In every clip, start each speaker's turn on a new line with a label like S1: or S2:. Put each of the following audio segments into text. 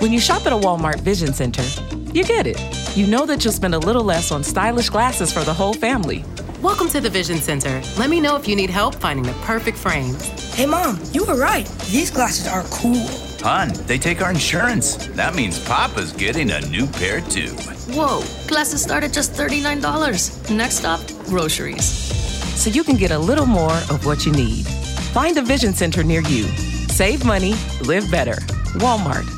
S1: When you shop at a Walmart Vision Center, you get it. You know that you'll spend a little less on stylish glasses for the whole family.
S2: Welcome to the Vision Center. Let me know if you need help finding the perfect frame.
S3: Hey, Mom, you were right. These glasses are cool.
S4: Hun, they take our insurance. That means Papa's getting a new pair too.
S5: Whoa, glasses start at just $39. Next stop, groceries.
S1: So you can get a little more of what you need. Find a Vision Center near you. Save money, live better. Walmart.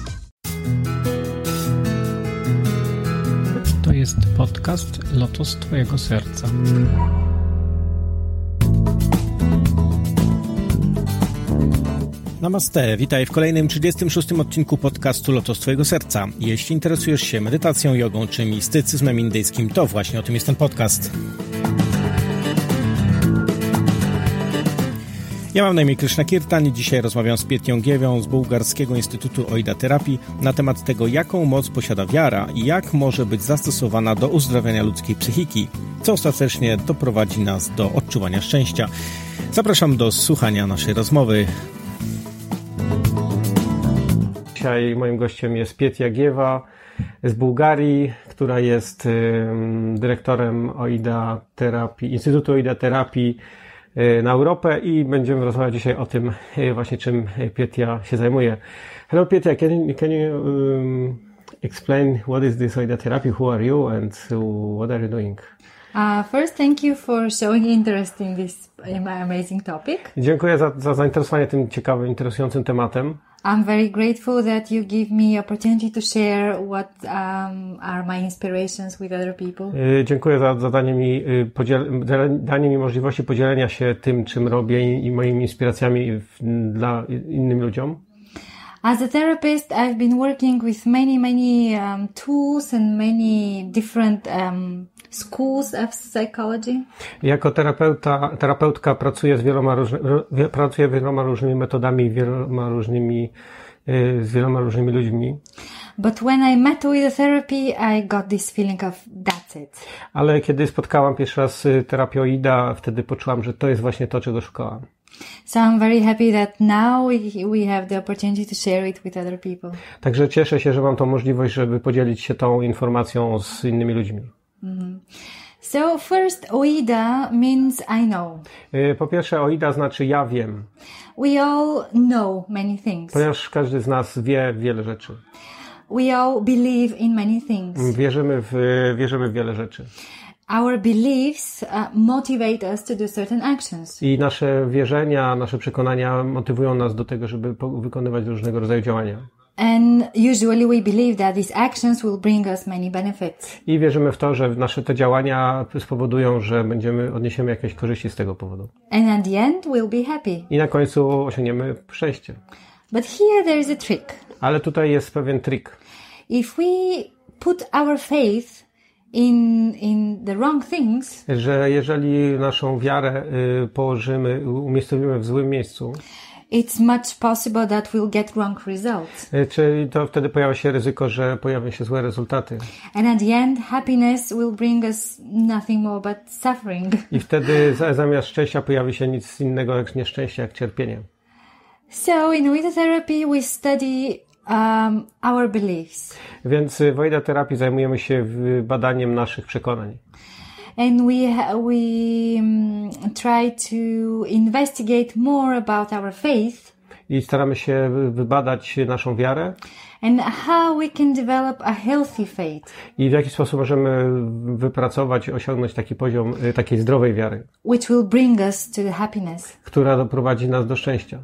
S6: To jest podcast Lotos Twojego Serca.
S7: Namaste, witaj w kolejnym 36 odcinku podcastu Lotos Twojego Serca. Jeśli interesujesz się medytacją, jogą czy mistycyzmem indyjskim, to właśnie o tym jest ten podcast. Ja mam na imię Krishna Kirtan i dzisiaj rozmawiam z Pietnią Giewią z Bułgarskiego Instytutu Oida Terapii na temat tego, jaką moc posiada wiara i jak może być zastosowana do uzdrawiania ludzkiej psychiki, co ostatecznie doprowadzi nas do odczuwania szczęścia. Zapraszam do słuchania naszej rozmowy.
S8: Dzisiaj moim gościem jest Pietia Giewa z Bułgarii, która jest ym, dyrektorem OIDA Terapii, Instytutu OIDA Terapii y, na Europę i będziemy rozmawiać dzisiaj o tym y, właśnie, czym Pietia się zajmuje. Hello Pietia, can, can you um, explain what is this OIDA Therapy, who are you and what are you doing?
S9: Uh, first, thank you for showing interest in this in my amazing topic.
S8: Dziękuję za, za zainteresowanie tym ciekawym, interesującym tematem.
S9: I'm very grateful that you give me opportunity to share what um, are my inspirations with other people.
S8: Y, Dziękuję za za danie mi, y, podziel, za danie mi możliwości podzielenia się tym, czym robię i, i moimi inspiracjami i w, dla i- innym ludziom.
S9: As a therapist, I've been working with many, many um, tools and many different um, schools of psychology.
S8: Jako terapeuta, terapeutka pracuję z wieloma, różny, ro- pracuję wieloma różnymi metodami, wieloma różnymi, y, z wieloma różnymi ludźmi.
S9: But when I met with the therapy, I got this feeling of that's it.
S8: Ale kiedy spotkałam pierwszy raz y, terapioida, wtedy poczułam, że to jest właśnie to, czego szukałam.
S9: So I'm very happy that now we, we have the opportunity to share it with other people.
S8: Także cieszę się, że mam tą możliwość, żeby podzielić się tą informacją z innymi ludźmi.
S9: So first, OIDA means I know.
S8: Y, Po pierwsze, OIDA znaczy ja wiem.
S9: We all know many things.
S8: Ponieważ każdy z nas wie wiele rzeczy.
S9: We all believe in many
S8: Mm.
S9: things.
S8: Wierzymy w, wierzymy w wiele rzeczy.
S9: Our beliefs uh, motivate us to do certain actions.
S8: I nasze wierzenia, nasze przekonania motywują nas do tego, żeby po- wykonywać różnego rodzaju działania.
S9: And usually we believe that these actions will bring us many benefits.
S8: I wierzymy w to, że nasze te działania spowodują, że będziemy, odniesiemy jakieś korzyści z tego powodu.
S9: And at the end, we'll be happy.
S8: I na końcu osiągniemy szczęście.
S9: But here there is a trick.
S8: Ale tutaj jest pewien trik.
S9: If we put our faith in, in the wrong things,
S8: Że jeżeli naszą wiarę y, położymy, umiejscowimy w złym miejscu,
S9: it's much possible that we'll get wrong results.
S8: y, czyli to wtedy pojawia się ryzyko, że pojawią się złe rezultaty.
S9: And at the end, happiness will bring us nothing more but suffering.
S8: I wtedy za- zamiast szczęścia pojawi się nic innego jak nieszczęście, jak cierpienie.
S9: So in Wita therapy, we study um, our beliefs
S8: Więc y, w OIDA terapii zajmujemy się w- badaniem naszych przekonań.
S9: and we ha- we um, try to investigate more about our faith
S8: I staramy się wy- wybadać naszą wiarę
S9: and how we can develop a healthy faith.
S8: i w jaki sposób możemy wypracować, osiągnąć taki poziom y, takiej zdrowej wiary,
S9: Which will bring us to the happiness.
S8: która doprowadzi nas do szczęścia.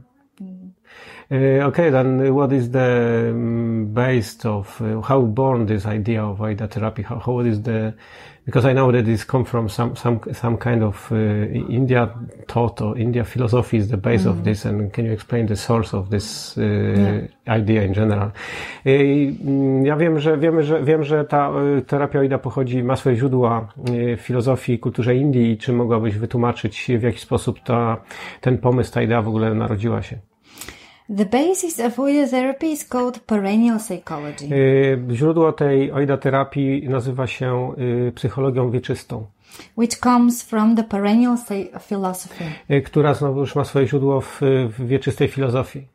S8: Y, Okay, then what is the mm, based of uh, how born this idea of AIDA therapy? How, how is the because I know that this come from some some some kind of uh, India thought or India philosophy is the base of this. And can you explain the source of this uh, idea in general? Y, mm, Ja wiem, że wiemy, że wiem, że ta y, terapia AIDA pochodzi ma swoje źródła y, w filozofii i kulturze Indii. Czy mogłabyś wytłumaczyć w jaki sposób ta ten pomysł ta idea w ogóle narodziła się?
S9: The basis of Wita therapy is called perennial psychology.
S8: Y, Źródło tej oida terapii nazywa się y, psychologią wieczystą.
S9: which comes from the perennial sa- philosophy.
S8: y, która znowu już ma swoje źródło w, w wieczystej filozofii.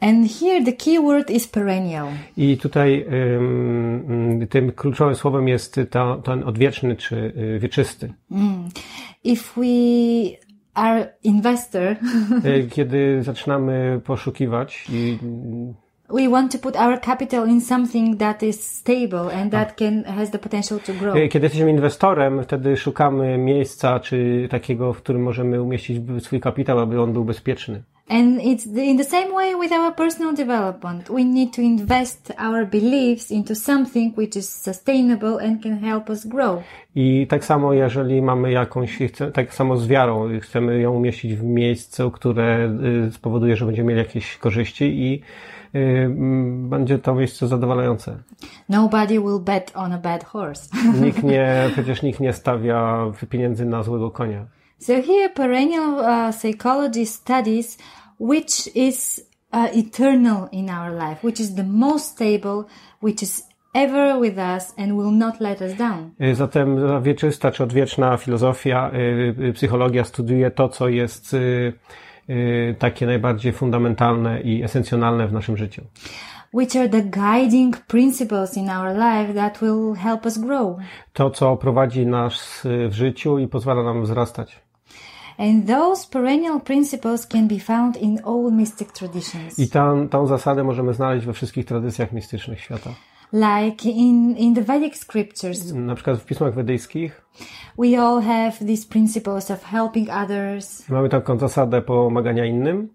S9: And here the key word is perennial.
S8: I tutaj ym, mm, tym kluczowym słowem jest ta, ten odwieczny czy y, wieczysty.
S9: If we are investor,
S8: Y, Kiedy zaczynamy poszukiwać i
S9: we want to put our capital in something that is stable and that can has the potential to grow.
S8: y, kiedy jesteśmy inwestorem, wtedy szukamy miejsca czy takiego, w którym możemy umieścić swój kapitał, aby on był bezpieczny.
S9: And it's the, in the same way with our personal development. We need to invest our beliefs into something which is sustainable and can help us grow.
S8: I tak samo, jeżeli mamy jakąś, chce- tak samo z wiarą, chcemy ją umieścić w miejscu, które y, spowoduje, że będziemy mieli jakieś korzyści i y, mm, będzie to miejsce zadowalające.
S9: Nobody will bet on a bad horse.
S8: Nikt nie, przecież nikt nie stawia pieniędzy na złego konia.
S9: so here perennial uh, psychology studies which is uh, eternal in our life, which is the most stable, which is ever with us and will not let us down.
S8: Y, Zatem wieczysta czy odwieczna filozofia, y, y, psychologia studiuje to, co jest y, y, takie najbardziej fundamentalne i esencjonalne w naszym życiu.
S9: Which are the guiding principles in our life that will help us grow.
S8: To, co prowadzi nas y, w życiu i pozwala nam wzrastać.
S9: And those perennial principles can be found in all mystic traditions.
S8: I tą, tą zasadę możemy znaleźć we wszystkich tradycjach mistycznych świata.
S9: like in, in the Vedic scriptures,
S8: Na przykład w pismach wedyjskich
S9: we all have these principles of helping others,
S8: mamy taką zasadę pomagania innym,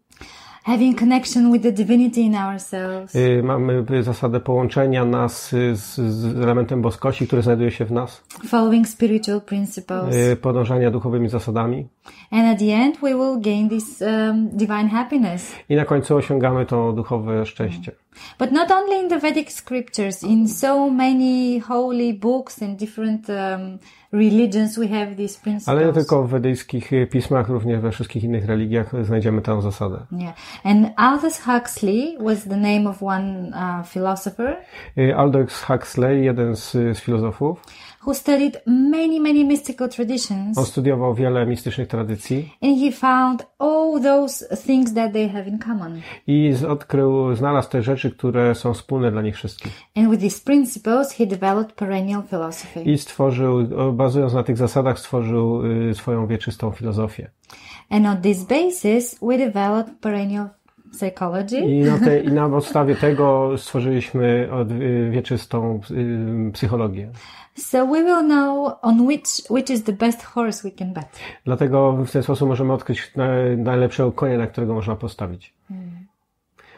S9: having connection with the divinity in ourselves,
S8: y, mamy y, zasadę połączenia nas y, z, z elementem boskości, który znajduje się w nas.
S9: following spiritual principles.
S8: y, podążania duchowymi zasadami.
S9: and at the end, we will gain this um, divine happiness.
S8: I na końcu osiągamy to duchowe szczęście.
S9: But not only in the Vedic scriptures, in so many holy books and different um, religions, we have these principles.
S8: Ale nie tylko w wedyjskich y, pismach, również we wszystkich innych religiach y, znajdziemy tę zasadę.
S9: Yeah, and Aldous Huxley was the name of one uh, philosopher
S8: Y, Aldous Huxley, jeden z, y, z filozofów,
S9: who studied many, many mystical traditions,
S8: on studiował wiele mistycznych tradycji
S9: and he found all those things that they have in common.
S8: i z- odkrył, znalazł te rzeczy, które są wspólne dla nich wszystkich.
S9: And with these principles, he developed perennial philosophy.
S8: I stworzył, o, bazując na tych zasadach, stworzył y, swoją wieczystą filozofię.
S9: And on this basis, we developed perennial psychology,
S8: I na, te, i na podstawie tego stworzyliśmy od, y, wieczystą y, psychologię.
S9: so we will know on which which is the best horse we can bet.
S8: Dlatego w ten sposób możemy odkryć na- najlepszego konia, na którego można postawić.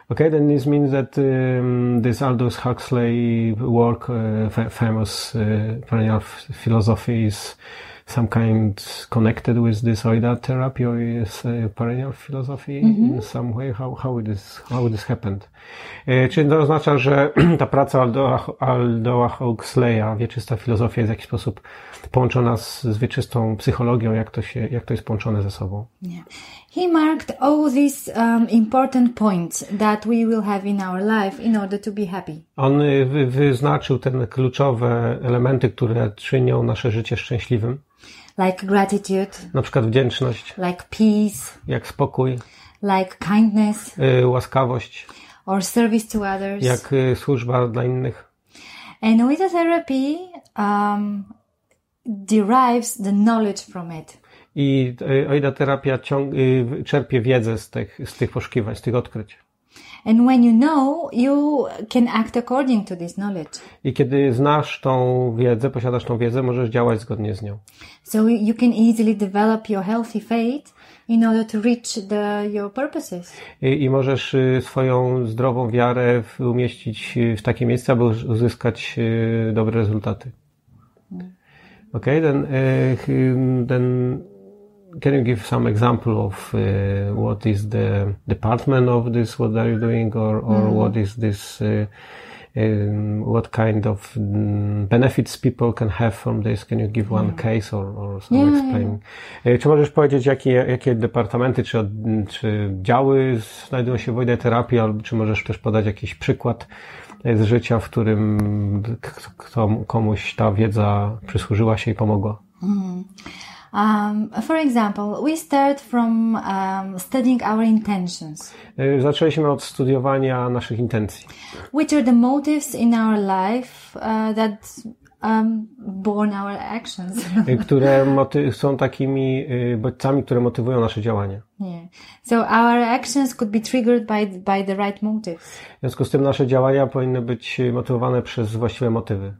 S8: Okay, then this means that um, this Aldous Huxley work, uh, fa- famous uh, perennial f- philosophy, is some kind connected with this Oida therapy or is uh, perennial philosophy in some way? How, how, this, how this happened? E, Czy to oznacza, że ta praca Aldoa, Aldoa Huxleya, wieczysta filozofia, jest w jakiś sposób połączona z, z wieczystą psychologią? Jak to, się, jak to jest połączone ze sobą?
S9: Yeah. He marked all these um, important points that we will have in our life in order to be happy.
S8: On y, wy, wyznaczył te kluczowe elementy, które czynią nasze życie szczęśliwym.
S9: like gratitude,
S8: Na przykład wdzięczność,
S9: like peace,
S8: jak spokój,
S9: like kindness
S8: y, łaskawość,
S9: or service to others.
S8: jak y, służba dla innych.
S9: And with the therapy um, derives the knowledge from it.
S8: I y, Oida terapia ciąg, y, czerpie wiedzę z tych, z tych poszukiwań, z tych odkryć.
S9: And when you know, you can act according to this knowledge.
S8: I kiedy znasz tą wiedzę, posiadasz tą wiedzę, możesz działać zgodnie z nią.
S9: So you can easily develop your healthy faith in order to reach the, your purposes.
S8: I, i możesz y, swoją zdrową wiarę w- umieścić y, w takie miejsce, aby uz- uzyskać y, dobre rezultaty. Okay, then, y, hmm, then can you give some example of y, what is the department of this, what are you doing, or, or
S9: Mm.
S8: what is this, y, um, what kind of mm, benefits people can have from this? Can you give one case or, or some
S9: Yeah,
S8: explain? E, Czy możesz powiedzieć, jakie, jakie departamenty czy, od- mm, czy działy znajdują się w Wojnie Terapii, albo czy możesz też podać jakiś przykład e, z życia, w którym k- kto, komuś ta wiedza przysłużyła się i pomogła?
S9: Um, for example, we start from um, studying our intentions,
S8: E, Zaczęliśmy od studiowania naszych intencji.
S9: which are the motives in our life uh, that um, born our actions.
S8: y, które moty- są takimi y, bodźcami, które motywują nasze działanie.
S9: yeah. So our actions could be triggered by by the right motives.
S8: W związku z tym nasze działania powinny być y, motywowane przez właściwe motywy.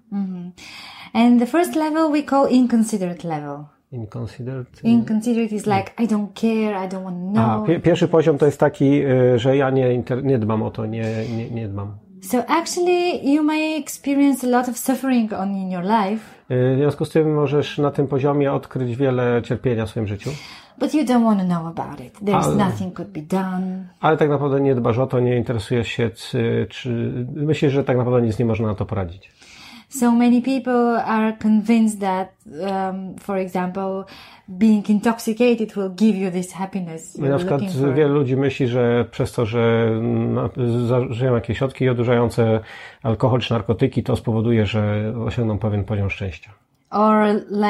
S9: And the first level we call inconsiderate level.
S8: Inconsidered.
S9: Inconsiderate is like I don't care, I don't want to
S8: A,
S9: know.
S8: pie- pierwszy poziom to jest taki, y, że ja nie, inter- nie dbam o to, nie, nie, nie dbam.
S9: So actually, you may experience a lot of suffering on in your life,
S8: Y, W związku z tym możesz na tym poziomie odkryć wiele cierpienia w swoim życiu,
S9: but you don't want to know about it. There's
S8: Ah.
S9: nothing could be done.
S8: ale tak naprawdę nie dbasz o to, nie interesujesz się, czy, czy myślisz, że tak naprawdę nic nie można na to poradzić.
S9: So many people are convinced that, um, for example, being intoxicated will give you this happiness
S8: Na
S9: you're
S8: przykład
S9: looking for.
S8: wielu ludzi myśli, że przez to, że na- zażyją jakieś środki odurzające alkohol czy narkotyki, to spowoduje, że osiągną pewien poziom szczęścia.
S9: Or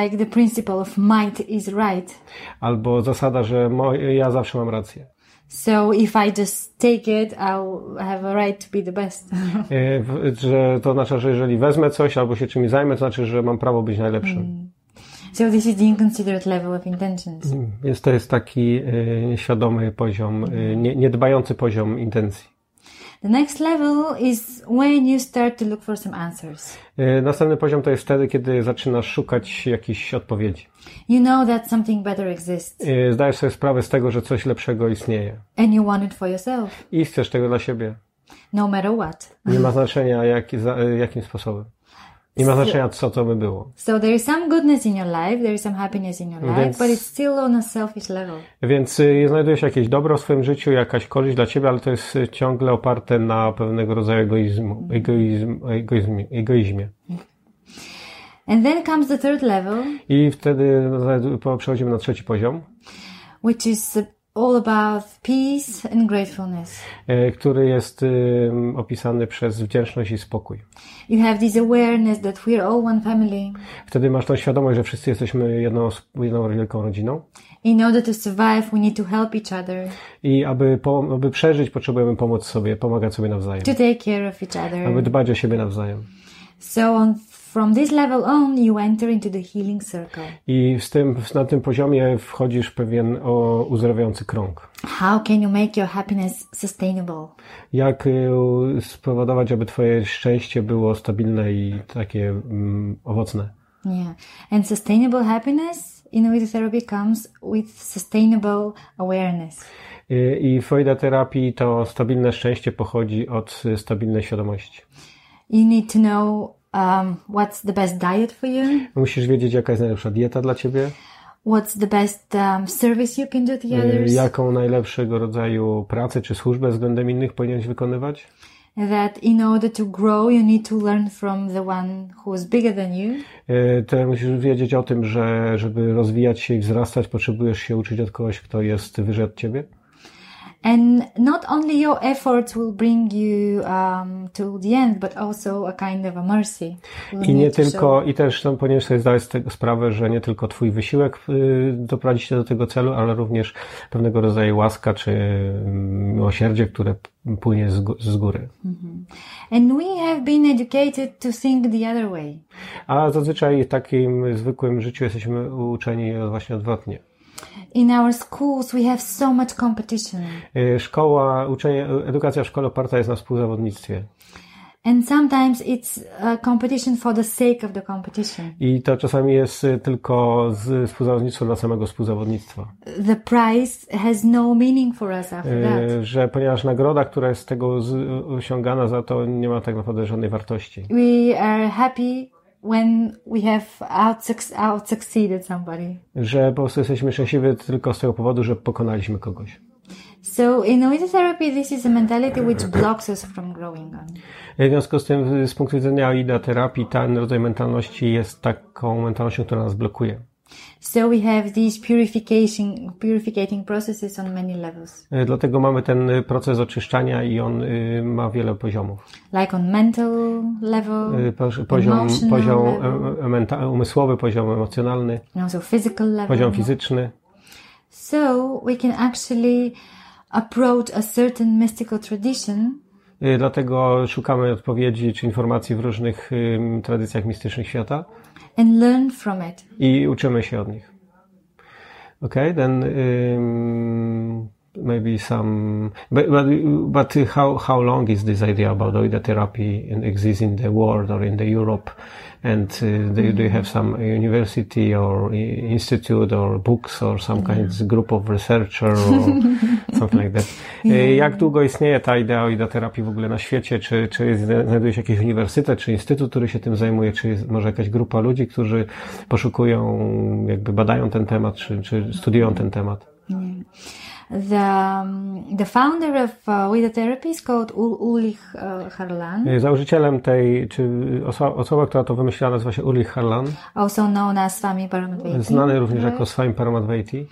S9: like the principle of might is right.
S8: Albo zasada, że mo- ja zawsze mam rację.
S9: So if I just take it, I'll have a right to be the best.
S8: E, w- Że to oznacza, że jeżeli wezmę coś albo się czymś zajmę, to znaczy, że mam prawo być najlepszym.
S9: so this is the inconsiderate level of intentions.
S8: Więc to jest taki e, świadomy poziom, e, nie, niedbający poziom intencji.
S9: The next level is when you start to look for some answers.
S8: E, Następny poziom to jest wtedy, kiedy zaczynasz szukać jakichś odpowiedzi.
S9: You know that something better exists
S8: E, Zdajesz sobie sprawę z tego, że coś lepszego istnieje.
S9: and you want it for yourself,
S8: i chcesz tego dla siebie.
S9: no matter what.
S8: Nie ma znaczenia jak, za, jakim sposobem. Nie ma znaczenia co to by było.
S9: So there is some goodness in your life, there is some happiness in your life,
S8: Więc-
S9: but it's still on a selfish level.
S8: Więc y, znajdujesz jakieś dobro w swoim życiu, jakaś korzyść dla ciebie, ale to jest y, ciągle oparte na pewnego rodzaju egoizmu, egoizm, egoizmie, egoizmie.
S9: And then comes the third level,
S8: I wtedy znajdu- po- przechodzimy na trzeci poziom,
S9: which is uh, all about peace and gratefulness.
S8: y, który jest y, opisany przez wdzięczność i spokój.
S9: You have this awareness that we're all one family.
S8: Wtedy masz tą świadomość, że wszyscy jesteśmy jedną, os- jedną wielką rodziną
S9: In order to survive, we need to help each other,
S8: i aby, po, aby przeżyć potrzebujemy pomóc sobie, pomagać sobie nawzajem,
S9: to take care of each
S8: aby
S9: other.
S8: dbać o siebie nawzajem.
S9: So on, from this level on, you enter into the healing circle.
S8: I z tym, na tym poziomie wchodzisz w pewien o, uzdrawiający krąg.
S9: How can you make your happiness sustainable?
S8: Jak y, spowodować, aby Twoje szczęście było stabilne i takie mm, owocne?
S9: Yeah. And sustainable happiness in innovative therapy comes with sustainable awareness.
S8: Y, I w Freuda terapii to stabilne szczęście pochodzi od y, stabilnej świadomości.
S9: You need to know um, what's the best diet for you,
S8: Musisz wiedzieć, jaka jest najlepsza dieta dla Ciebie,
S9: what's the best um, service you can do to
S8: y,
S9: others,
S8: jaką najlepszego rodzaju pracę czy służbę względem innych powinieneś wykonywać.
S9: that in order to grow, you need to learn from the one who's bigger than you.
S8: Y, To musisz wiedzieć o tym, że żeby rozwijać się i wzrastać, potrzebujesz się uczyć od kogoś, kto jest wyżej od Ciebie.
S9: And not only your efforts will bring you um, to the end, but also a kind of a mercy. You
S8: I nie
S9: need to show-
S8: tylko, i też no, powinieneś sobie zdać z tego sprawę, że nie tylko twój wysiłek y, doprowadzi cię do tego celu, ale również pewnego rodzaju łaska czy y, miłosierdzie, które p- płynie z, gó- z góry.
S9: And we have been educated to think the other way.
S8: A zazwyczaj w takim zwykłym życiu jesteśmy uczeni właśnie odwrotnie.
S9: In our schools, we have so much competition,
S8: Y, Szkoła, uczenie, edukacja w szkole oparta jest na współzawodnictwie.
S9: and sometimes it's a competition for the sake of the competition.
S8: I to czasami jest y, tylko z współzawodnictwo dla samego współzawodnictwa.
S9: The prize has no meaning for us after
S8: Y,
S9: that.
S8: Że ponieważ nagroda, która jest z tego z, osiągana za to, nie ma tak naprawdę żadnej wartości.
S9: We are happy when we have out, out succeeded somebody.
S8: że po prostu jesteśmy szczęśliwi tylko z tego powodu, że pokonaliśmy kogoś.
S9: So in Noita therapy, this is a mentality which blocks us from growing on.
S8: W związku z tym, z punktu widzenia AIDA terapii, ten rodzaj mentalności jest taką mentalnością, która nas blokuje.
S9: So we have these purification, purificating processes on many levels,
S8: E, Dlatego mamy ten e, proces oczyszczania i on y, ma wiele poziomów.
S9: like on mental level,
S8: Y, poz- Uh, Poziom,
S9: emotional
S8: poziom
S9: level,
S8: e- e- menta- umysłowy, poziom emocjonalny,
S9: and also physical level.
S8: poziom fizyczny.
S9: So we can actually approach a certain mystical tradition
S8: Y, Dlatego szukamy odpowiedzi czy informacji w różnych ym, tradycjach mistycznych świata
S9: and learn from it.
S8: i uczymy się od nich. Okay, then ym, maybe some. But, but, but how, how long is this idea about Oida therapy and exists in the world or in the Europe? And uh, do, you- do you have some university or i- institute or books or some kind of group of researcher or something like that? Y, Jak długo istnieje ta idea Oida terapii w ogóle na świecie? Czy, czy jest, znajduje się jakiś uniwersytet, czy instytut, który się tym zajmuje? Czy jest może jakaś grupa ludzi, którzy poszukują, jakby badają ten temat, czy, czy studiują ten temat?
S9: The um, the founder of uh, Wida Therapy is called Ul- Ulrich uh, Harlan,
S8: Y, Założycielem tej, czy osoba, osoba, która to wymyśliła, nazywa się Ulrich Harlan,
S9: also known as Swami Paramadvaiti.
S8: znany również jako Swaim Paramadvaiti.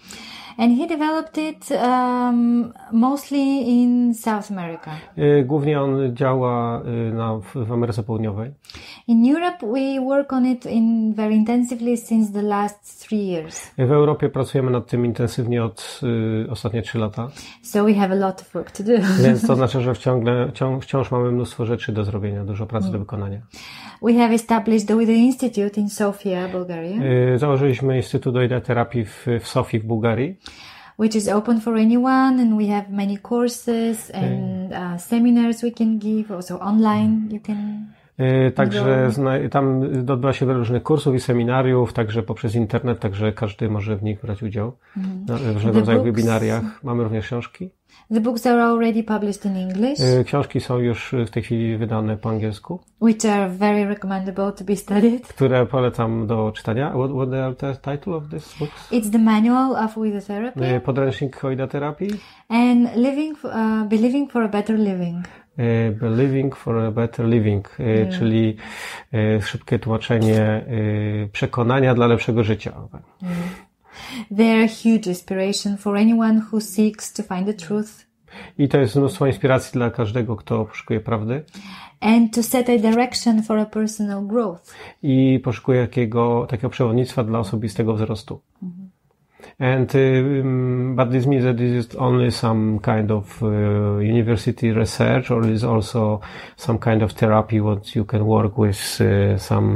S9: And he developed it um, mostly in South America.
S8: Y, Głównie on działa y, na, w- w Ameryce Południowej.
S9: In Europe, we work on it in very intensively since the last three years.
S8: Y, W Europie pracujemy nad tym intensywnie od y, ostatnie trzy lata,
S9: So we have a lot of work to do.
S8: więc to oznacza, że wciągle, wciąż, wciąż mamy mnóstwo rzeczy do zrobienia, dużo pracy do wykonania.
S9: we have established the Wida Institute in Sofia, Bulgaria,
S8: Y, Założyliśmy Instytut Oida Terapii w, w Sofii w Bułgarii.
S9: which is open for anyone, and we have many courses and uh, seminars we can give. Also online, you can.
S8: Y, Także zna- tam odbywa się wiele różnych kursów i seminariów, także poprzez internet, także każdy może w nich brać udział. Na różnego
S9: The
S8: rodzaju
S9: books.
S8: webinariach. Mamy również książki.
S9: The books are already published in English,
S8: Y, Książki są już w tej chwili wydane po angielsku,
S9: which are very recommendable to be studied.
S8: które polecam do czytania. What, what are the title of this books?
S9: It's the manual of Wida Therapy
S8: Y, Podręcznik Oida Terapii.
S9: and living, uh, believing for a better living.
S8: E, Believing for a Better Living, e, czyli e, szybkie tłumaczenie e, przekonania dla lepszego życia.
S9: They're a huge inspiration for anyone who seeks to find the truth
S8: I to jest mnóstwo inspiracji dla każdego, kto poszukuje prawdy
S9: and to set a direction for a personal growth.
S8: i poszukuje jakiego, takiego przewodnictwa dla osobistego wzrostu. And um, but this means that this is only some kind of uh, university research, or is also some kind of therapy what you can work with uh, some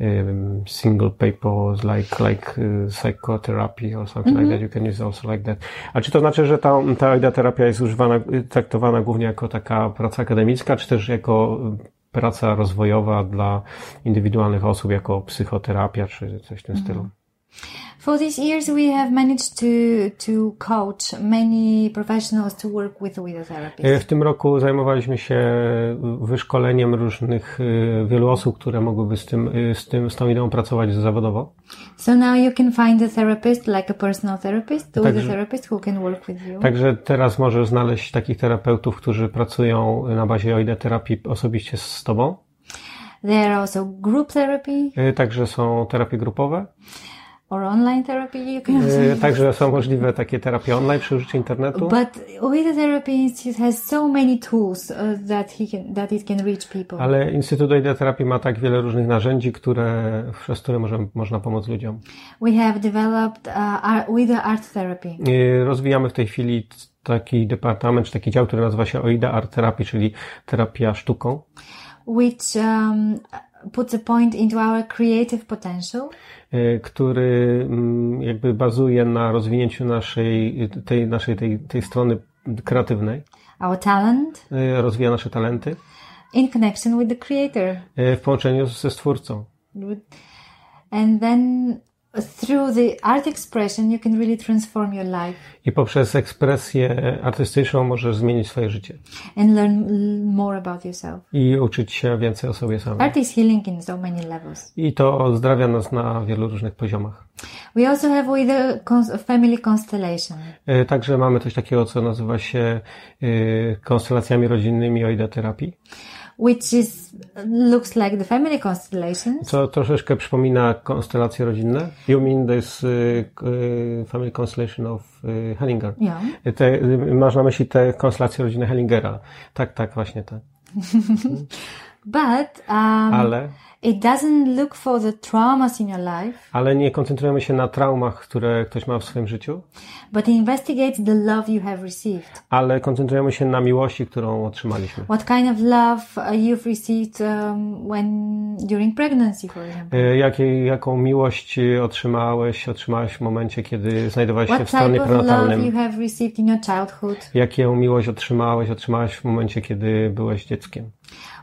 S8: um, single papers like like uh, psychotherapy or something like that. You can use also like that. A czy to znaczy, że ta, ta idea terapia jest używana, y, traktowana głównie jako taka praca akademicka, czy też jako y, praca rozwojowa dla indywidualnych osób, jako psychoterapia czy coś w tym stylu?
S9: For these years, we have managed to, to coach many professionals to work with Wida
S8: Y,
S9: Therapy.
S8: W tym roku zajmowaliśmy się wyszkoleniem różnych y, wielu osób, które mogłyby z tym, y, z tym, z tą ideą pracować zawodowo.
S9: So now you can find a therapist, like a personal therapist, with a
S8: Także-
S9: therapist who can work with you.
S8: Także teraz możesz znaleźć takich terapeutów, którzy pracują na bazie OID terapii osobiście z tobą.
S9: There are also group therapy
S8: Y, Także są terapie grupowe.
S9: or online therapy. You can also
S8: Y, Także są możliwe takie terapie online przy użyciu internetu.
S9: But Oida Therapy Institute has so many tools uh, that he can that it can reach people.
S8: Ale Instytut OID terapii ma tak wiele różnych narzędzi, które, przez które możemy, można pomóc ludziom.
S9: We have developed uh, art, Oida Art Therapy.
S8: Y, Rozwijamy w tej chwili t- taki departament, czy taki dział, który nazywa się OIDA Art Therapy, czyli terapia sztuką.
S9: which um, puts a point into our creative potential
S8: y, który mm, jakby bazuje na rozwinięciu naszej, tej, naszej tej, tej strony kreatywnej,
S9: our talent
S8: y, rozwija nasze talenty
S9: in connection with the creator
S8: y, w połączeniu ze stwórcą.
S9: and then through the art expression you can really transform your life
S8: I poprzez ekspresję artystyczną możesz zmienić swoje życie
S9: and learn l- more about yourself
S8: i uczyć się więcej o sobie samym.
S9: art is healing in so many levels
S8: I to ozdrawia nas na wielu różnych poziomach.
S9: we also have with the cons- family constellation
S8: Y, Także e, mamy coś takiego, co nazywa się y, konstelacjami rodzinnymi o terapii.
S9: which is looks like the family constellations.
S8: Co troszeczkę przypomina konstelacje rodzinne. You mean this y, y, family constellation of y, Hellinger.
S9: Yeah.
S8: Te, y, masz na myśli te konstelacje rodziny Hellingera. Tak, tak, właśnie tak.
S9: But um,
S8: Ale,
S9: it doesn't look for the traumas in your life,
S8: ale nie koncentrujemy się na traumach, które ktoś ma w swoim życiu,
S9: but it investigates the love you have received.
S8: ale koncentrujemy się na miłości, którą otrzymaliśmy.
S9: What kind of love uh, you've received um, when during pregnancy, for example.
S8: Y, Jakiej, jaką miłość y, otrzymałeś, otrzymałaś w momencie, kiedy znajdowałeś się
S9: What
S8: w stanie
S9: type of love you
S8: prenatalnym?
S9: have received in your childhood?
S8: Jaką miłość otrzymałeś, otrzymałaś w momencie, kiedy byłeś dzieckiem?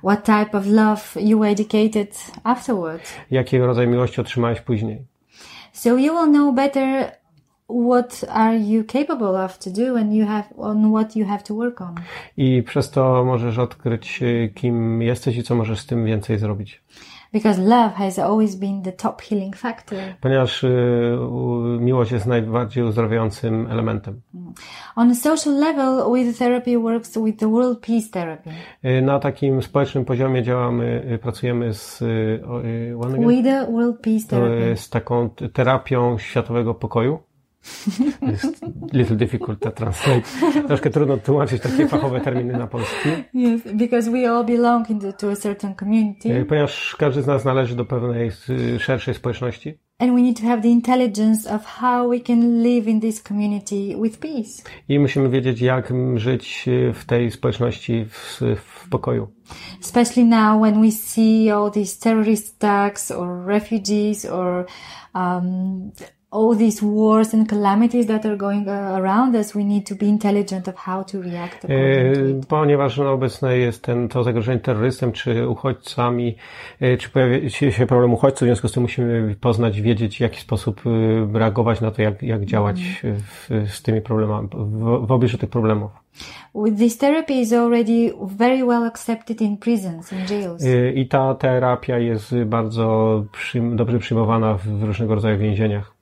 S9: What type of love you were educated afterwards?
S8: Jakiego rodzaju miłości otrzymałeś później?
S9: So you will know better what are you capable of to do and you have on what you have to work on.
S8: I przez to możesz odkryć, y, kim jesteś i co możesz z tym więcej zrobić.
S9: Because love has always been the top healing factor.
S8: Ponieważ y, u- miłość jest najbardziej uzdrawiającym elementem.
S9: On a social level, with therapy works with the world peace therapy.
S8: Y, Na takim społecznym poziomie działamy, y, pracujemy z, y, o, y, one again?
S9: With the world peace
S8: To
S9: therapy.
S8: z taką t- terapią światowego pokoju. To Jest little difficult to translate. Troszkę trudno tłumaczyć takie fachowe terminy na polski,
S9: Yes, because we all belong into, to a certain
S8: y,
S9: community
S8: ponieważ każdy z nas należy do pewnej y, szerszej społeczności.
S9: and we need to have the intelligence of how we can live in this community with peace.
S8: I musimy wiedzieć, jak m- żyć y, w tej społeczności w, w pokoju.
S9: Especially now when we see all these terrorist attacks or refugees or um, all these wars and calamities that are going uh, around us, we need to be intelligent of how to react according to
S8: Y,
S9: it.
S8: Ponieważ no, obecne jest ten, to zagrożenie terrorystem czy uchodźcami, y, czy pojawia się się problem uchodźców, w związku z tym musimy poznać, wiedzieć w jaki sposób y, reagować na to, jak, jak działać w, z tymi problemami, w, w obliczu tych problemów.
S9: With this therapy is already very well accepted in prisons, in jails.
S8: Y, I ta terapia jest bardzo przyjm, dobrze przyjmowana w, w różnego rodzaju więzieniach.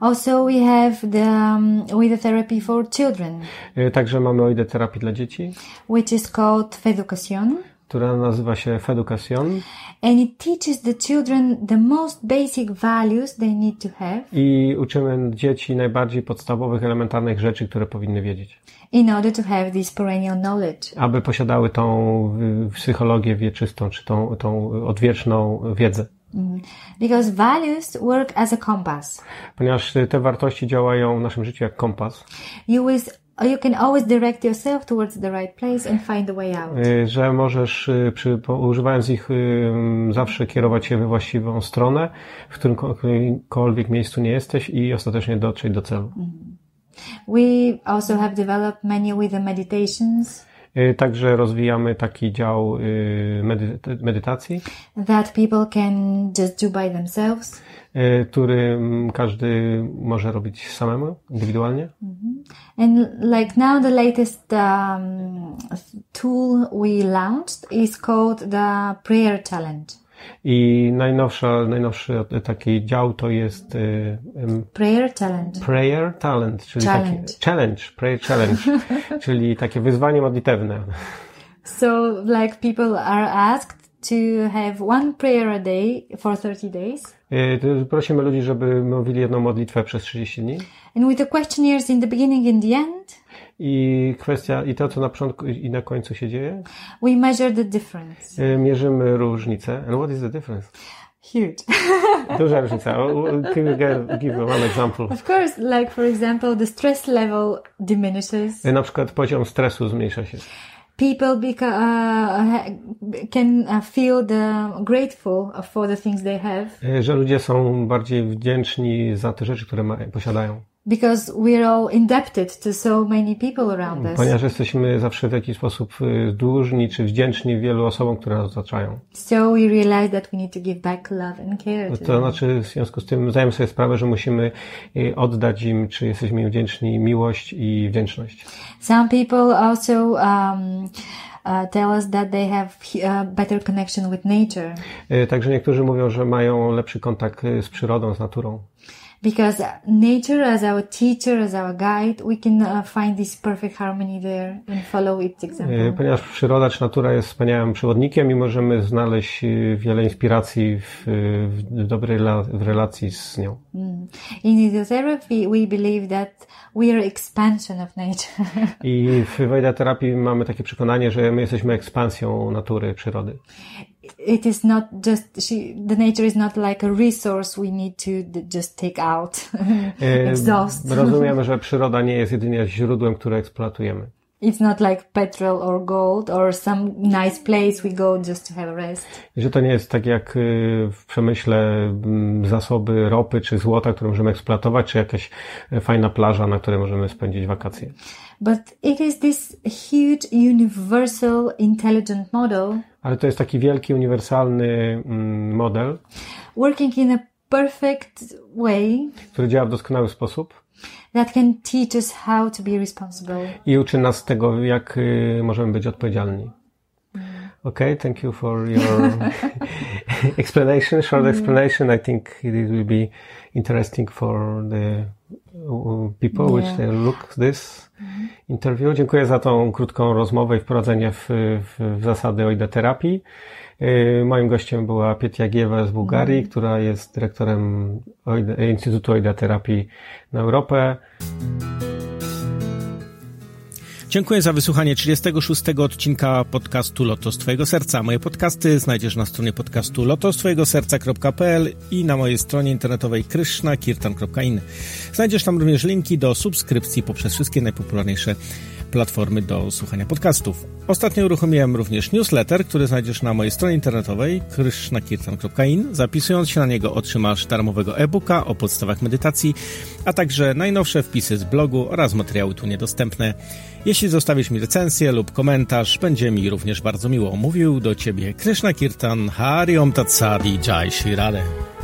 S9: Also, we have the um, with the therapy for children,
S8: Y, Także mamy oidę terapii dla dzieci,
S9: which is called Feducación,
S8: która nazywa się Feducación.
S9: and it teaches the children the most basic values they need to have
S8: i uczymy dzieci najbardziej podstawowych, elementarnych rzeczy, które powinny wiedzieć,
S9: in order to have this perennial knowledge.
S8: aby posiadały tą y, psychologię wieczystą, czy tą, tą odwieczną wiedzę.
S9: Because values work as a compass.
S8: Ponieważ y, te wartości działają w naszym życiu jak kompas,
S9: You always you can always direct yourself towards the right place and find a way out.
S8: y, że możesz, y, przy, po- używając ich, y, zawsze kierować się we właściwą stronę, w którymkolwiek miejscu nie jesteś i ostatecznie dotrzeć do celu.
S9: We also have developed many with the meditations
S8: Y, Także rozwijamy taki dział y, medy- medytacji.
S9: that people can just do by themselves.
S8: y, który mm, każdy może robić samemu, indywidualnie.
S9: And like now, the latest um, tool we launched is called the prayer challenge.
S8: I najnowsza, najnowszy taki dział to jest y, em,
S9: Prayer challenge.
S8: Prayer Talent, czyli
S9: Challenge.
S8: Taki, challenge, prayer challenge, czyli takie wyzwanie modlitewne.
S9: So like people are asked to have one prayer a day for 30 days.
S8: Y, to Prosimy ludzi, żeby mówili jedną modlitwę przez 30 dni.
S9: And with the questionnaires in the beginning and the end,
S8: I kwestia, i to co na początku i na końcu się dzieje,
S9: we measure the difference.
S8: y, mierzymy różnicę. And what is the difference?
S9: Huge.
S8: Duża różnica. O, o, Can you give- give one example?
S9: of course, like for example, the stress level diminishes.
S8: Y, Na przykład poziom stresu zmniejsza się.
S9: People beca- uh, ha- can uh, feel the grateful for the things they have.
S8: Y, że ludzie są bardziej wdzięczni za te rzeczy, które ma, posiadają.
S9: because we're all indebted to so many people around us.
S8: Ponieważ jesteśmy zawsze w jakiś sposób y, dłużni czy wdzięczni wielu osobom, które nas otaczają.
S9: So we realize that we need to give back love and care. To
S8: To
S9: them.
S8: znaczy, w związku z tym zdajemy sobie sprawę, że musimy y, oddać im, czy jesteśmy im wdzięczni, miłość i wdzięczność.
S9: Some people also um, uh, tell us that they have uh, better connection with nature.
S8: E, Y, Także niektórzy mówią, że mają lepszy kontakt y, e, z przyrodą, z naturą.
S9: because nature as our teacher, as our guide, we can uh, find this perfect harmony there and follow its
S8: E,
S9: example.
S8: Ponieważ przyroda czy natura jest wspaniałym przewodnikiem i możemy znaleźć e, wiele inspiracji w, e, w, w dobrej la, w relacji z nią.
S9: In ideotherapy, we believe that we are expansion of nature.
S8: I w Wejda terapii mamy takie przekonanie, że my jesteśmy ekspansją natury, przyrody.
S9: it is not just she the nature is not like a resource we need to d- just take out
S8: E,
S9: exhaust
S8: Rozumiemy, że przyroda nie jest jedynie źródłem, które eksploatujemy.
S9: it's not like petrol or gold or some nice place we go just to have a rest
S8: I że to nie jest tak jak e, w przemyśle m, zasoby ropy czy złota, które możemy eksploatować, czy jakaś e, fajna plaża, na której możemy spędzić wakacje.
S9: but it is this huge universal intelligent model
S8: Ale to jest taki wielki, uniwersalny mm, model,
S9: working in a perfect way
S8: który działa w doskonały sposób
S9: that can teach us how to be responsible
S8: i uczy nas tego, jak y, możemy być odpowiedzialni. Okay, thank you for your explanation, short explanation. I think it will be interesting for the uh, people which they look this interview. Dziękuję za tą krótką rozmowę i wprowadzenie w, w, w zasady OIDA terapii. Y, Moim gościem była Pietia Giewa z Bułgarii, która jest dyrektorem OIDA, Instytutu OIDA terapii na Europę.
S7: Dziękuję za wysłuchanie 36 odcinka podcastu Lotos Twojego Serca. Moje podcasty znajdziesz na stronie podcastu lotostwojegoserca.pl i na mojej stronie internetowej krishnakirtan.in. Znajdziesz tam również linki do subskrypcji poprzez wszystkie najpopularniejsze platformy do słuchania podcastów. Ostatnio uruchomiłem również newsletter, który znajdziesz na mojej stronie internetowej krishnakirtan.in. Zapisując się na niego otrzymasz darmowego e-booka o podstawach medytacji, a także najnowsze wpisy z blogu oraz materiały tu niedostępne. Jeśli zostawisz mi recenzję lub komentarz, będzie mi również bardzo miło. Mówił do Ciebie Krishna Kirtan, Hari Om Tat Sadi, Jai Shri Radhe.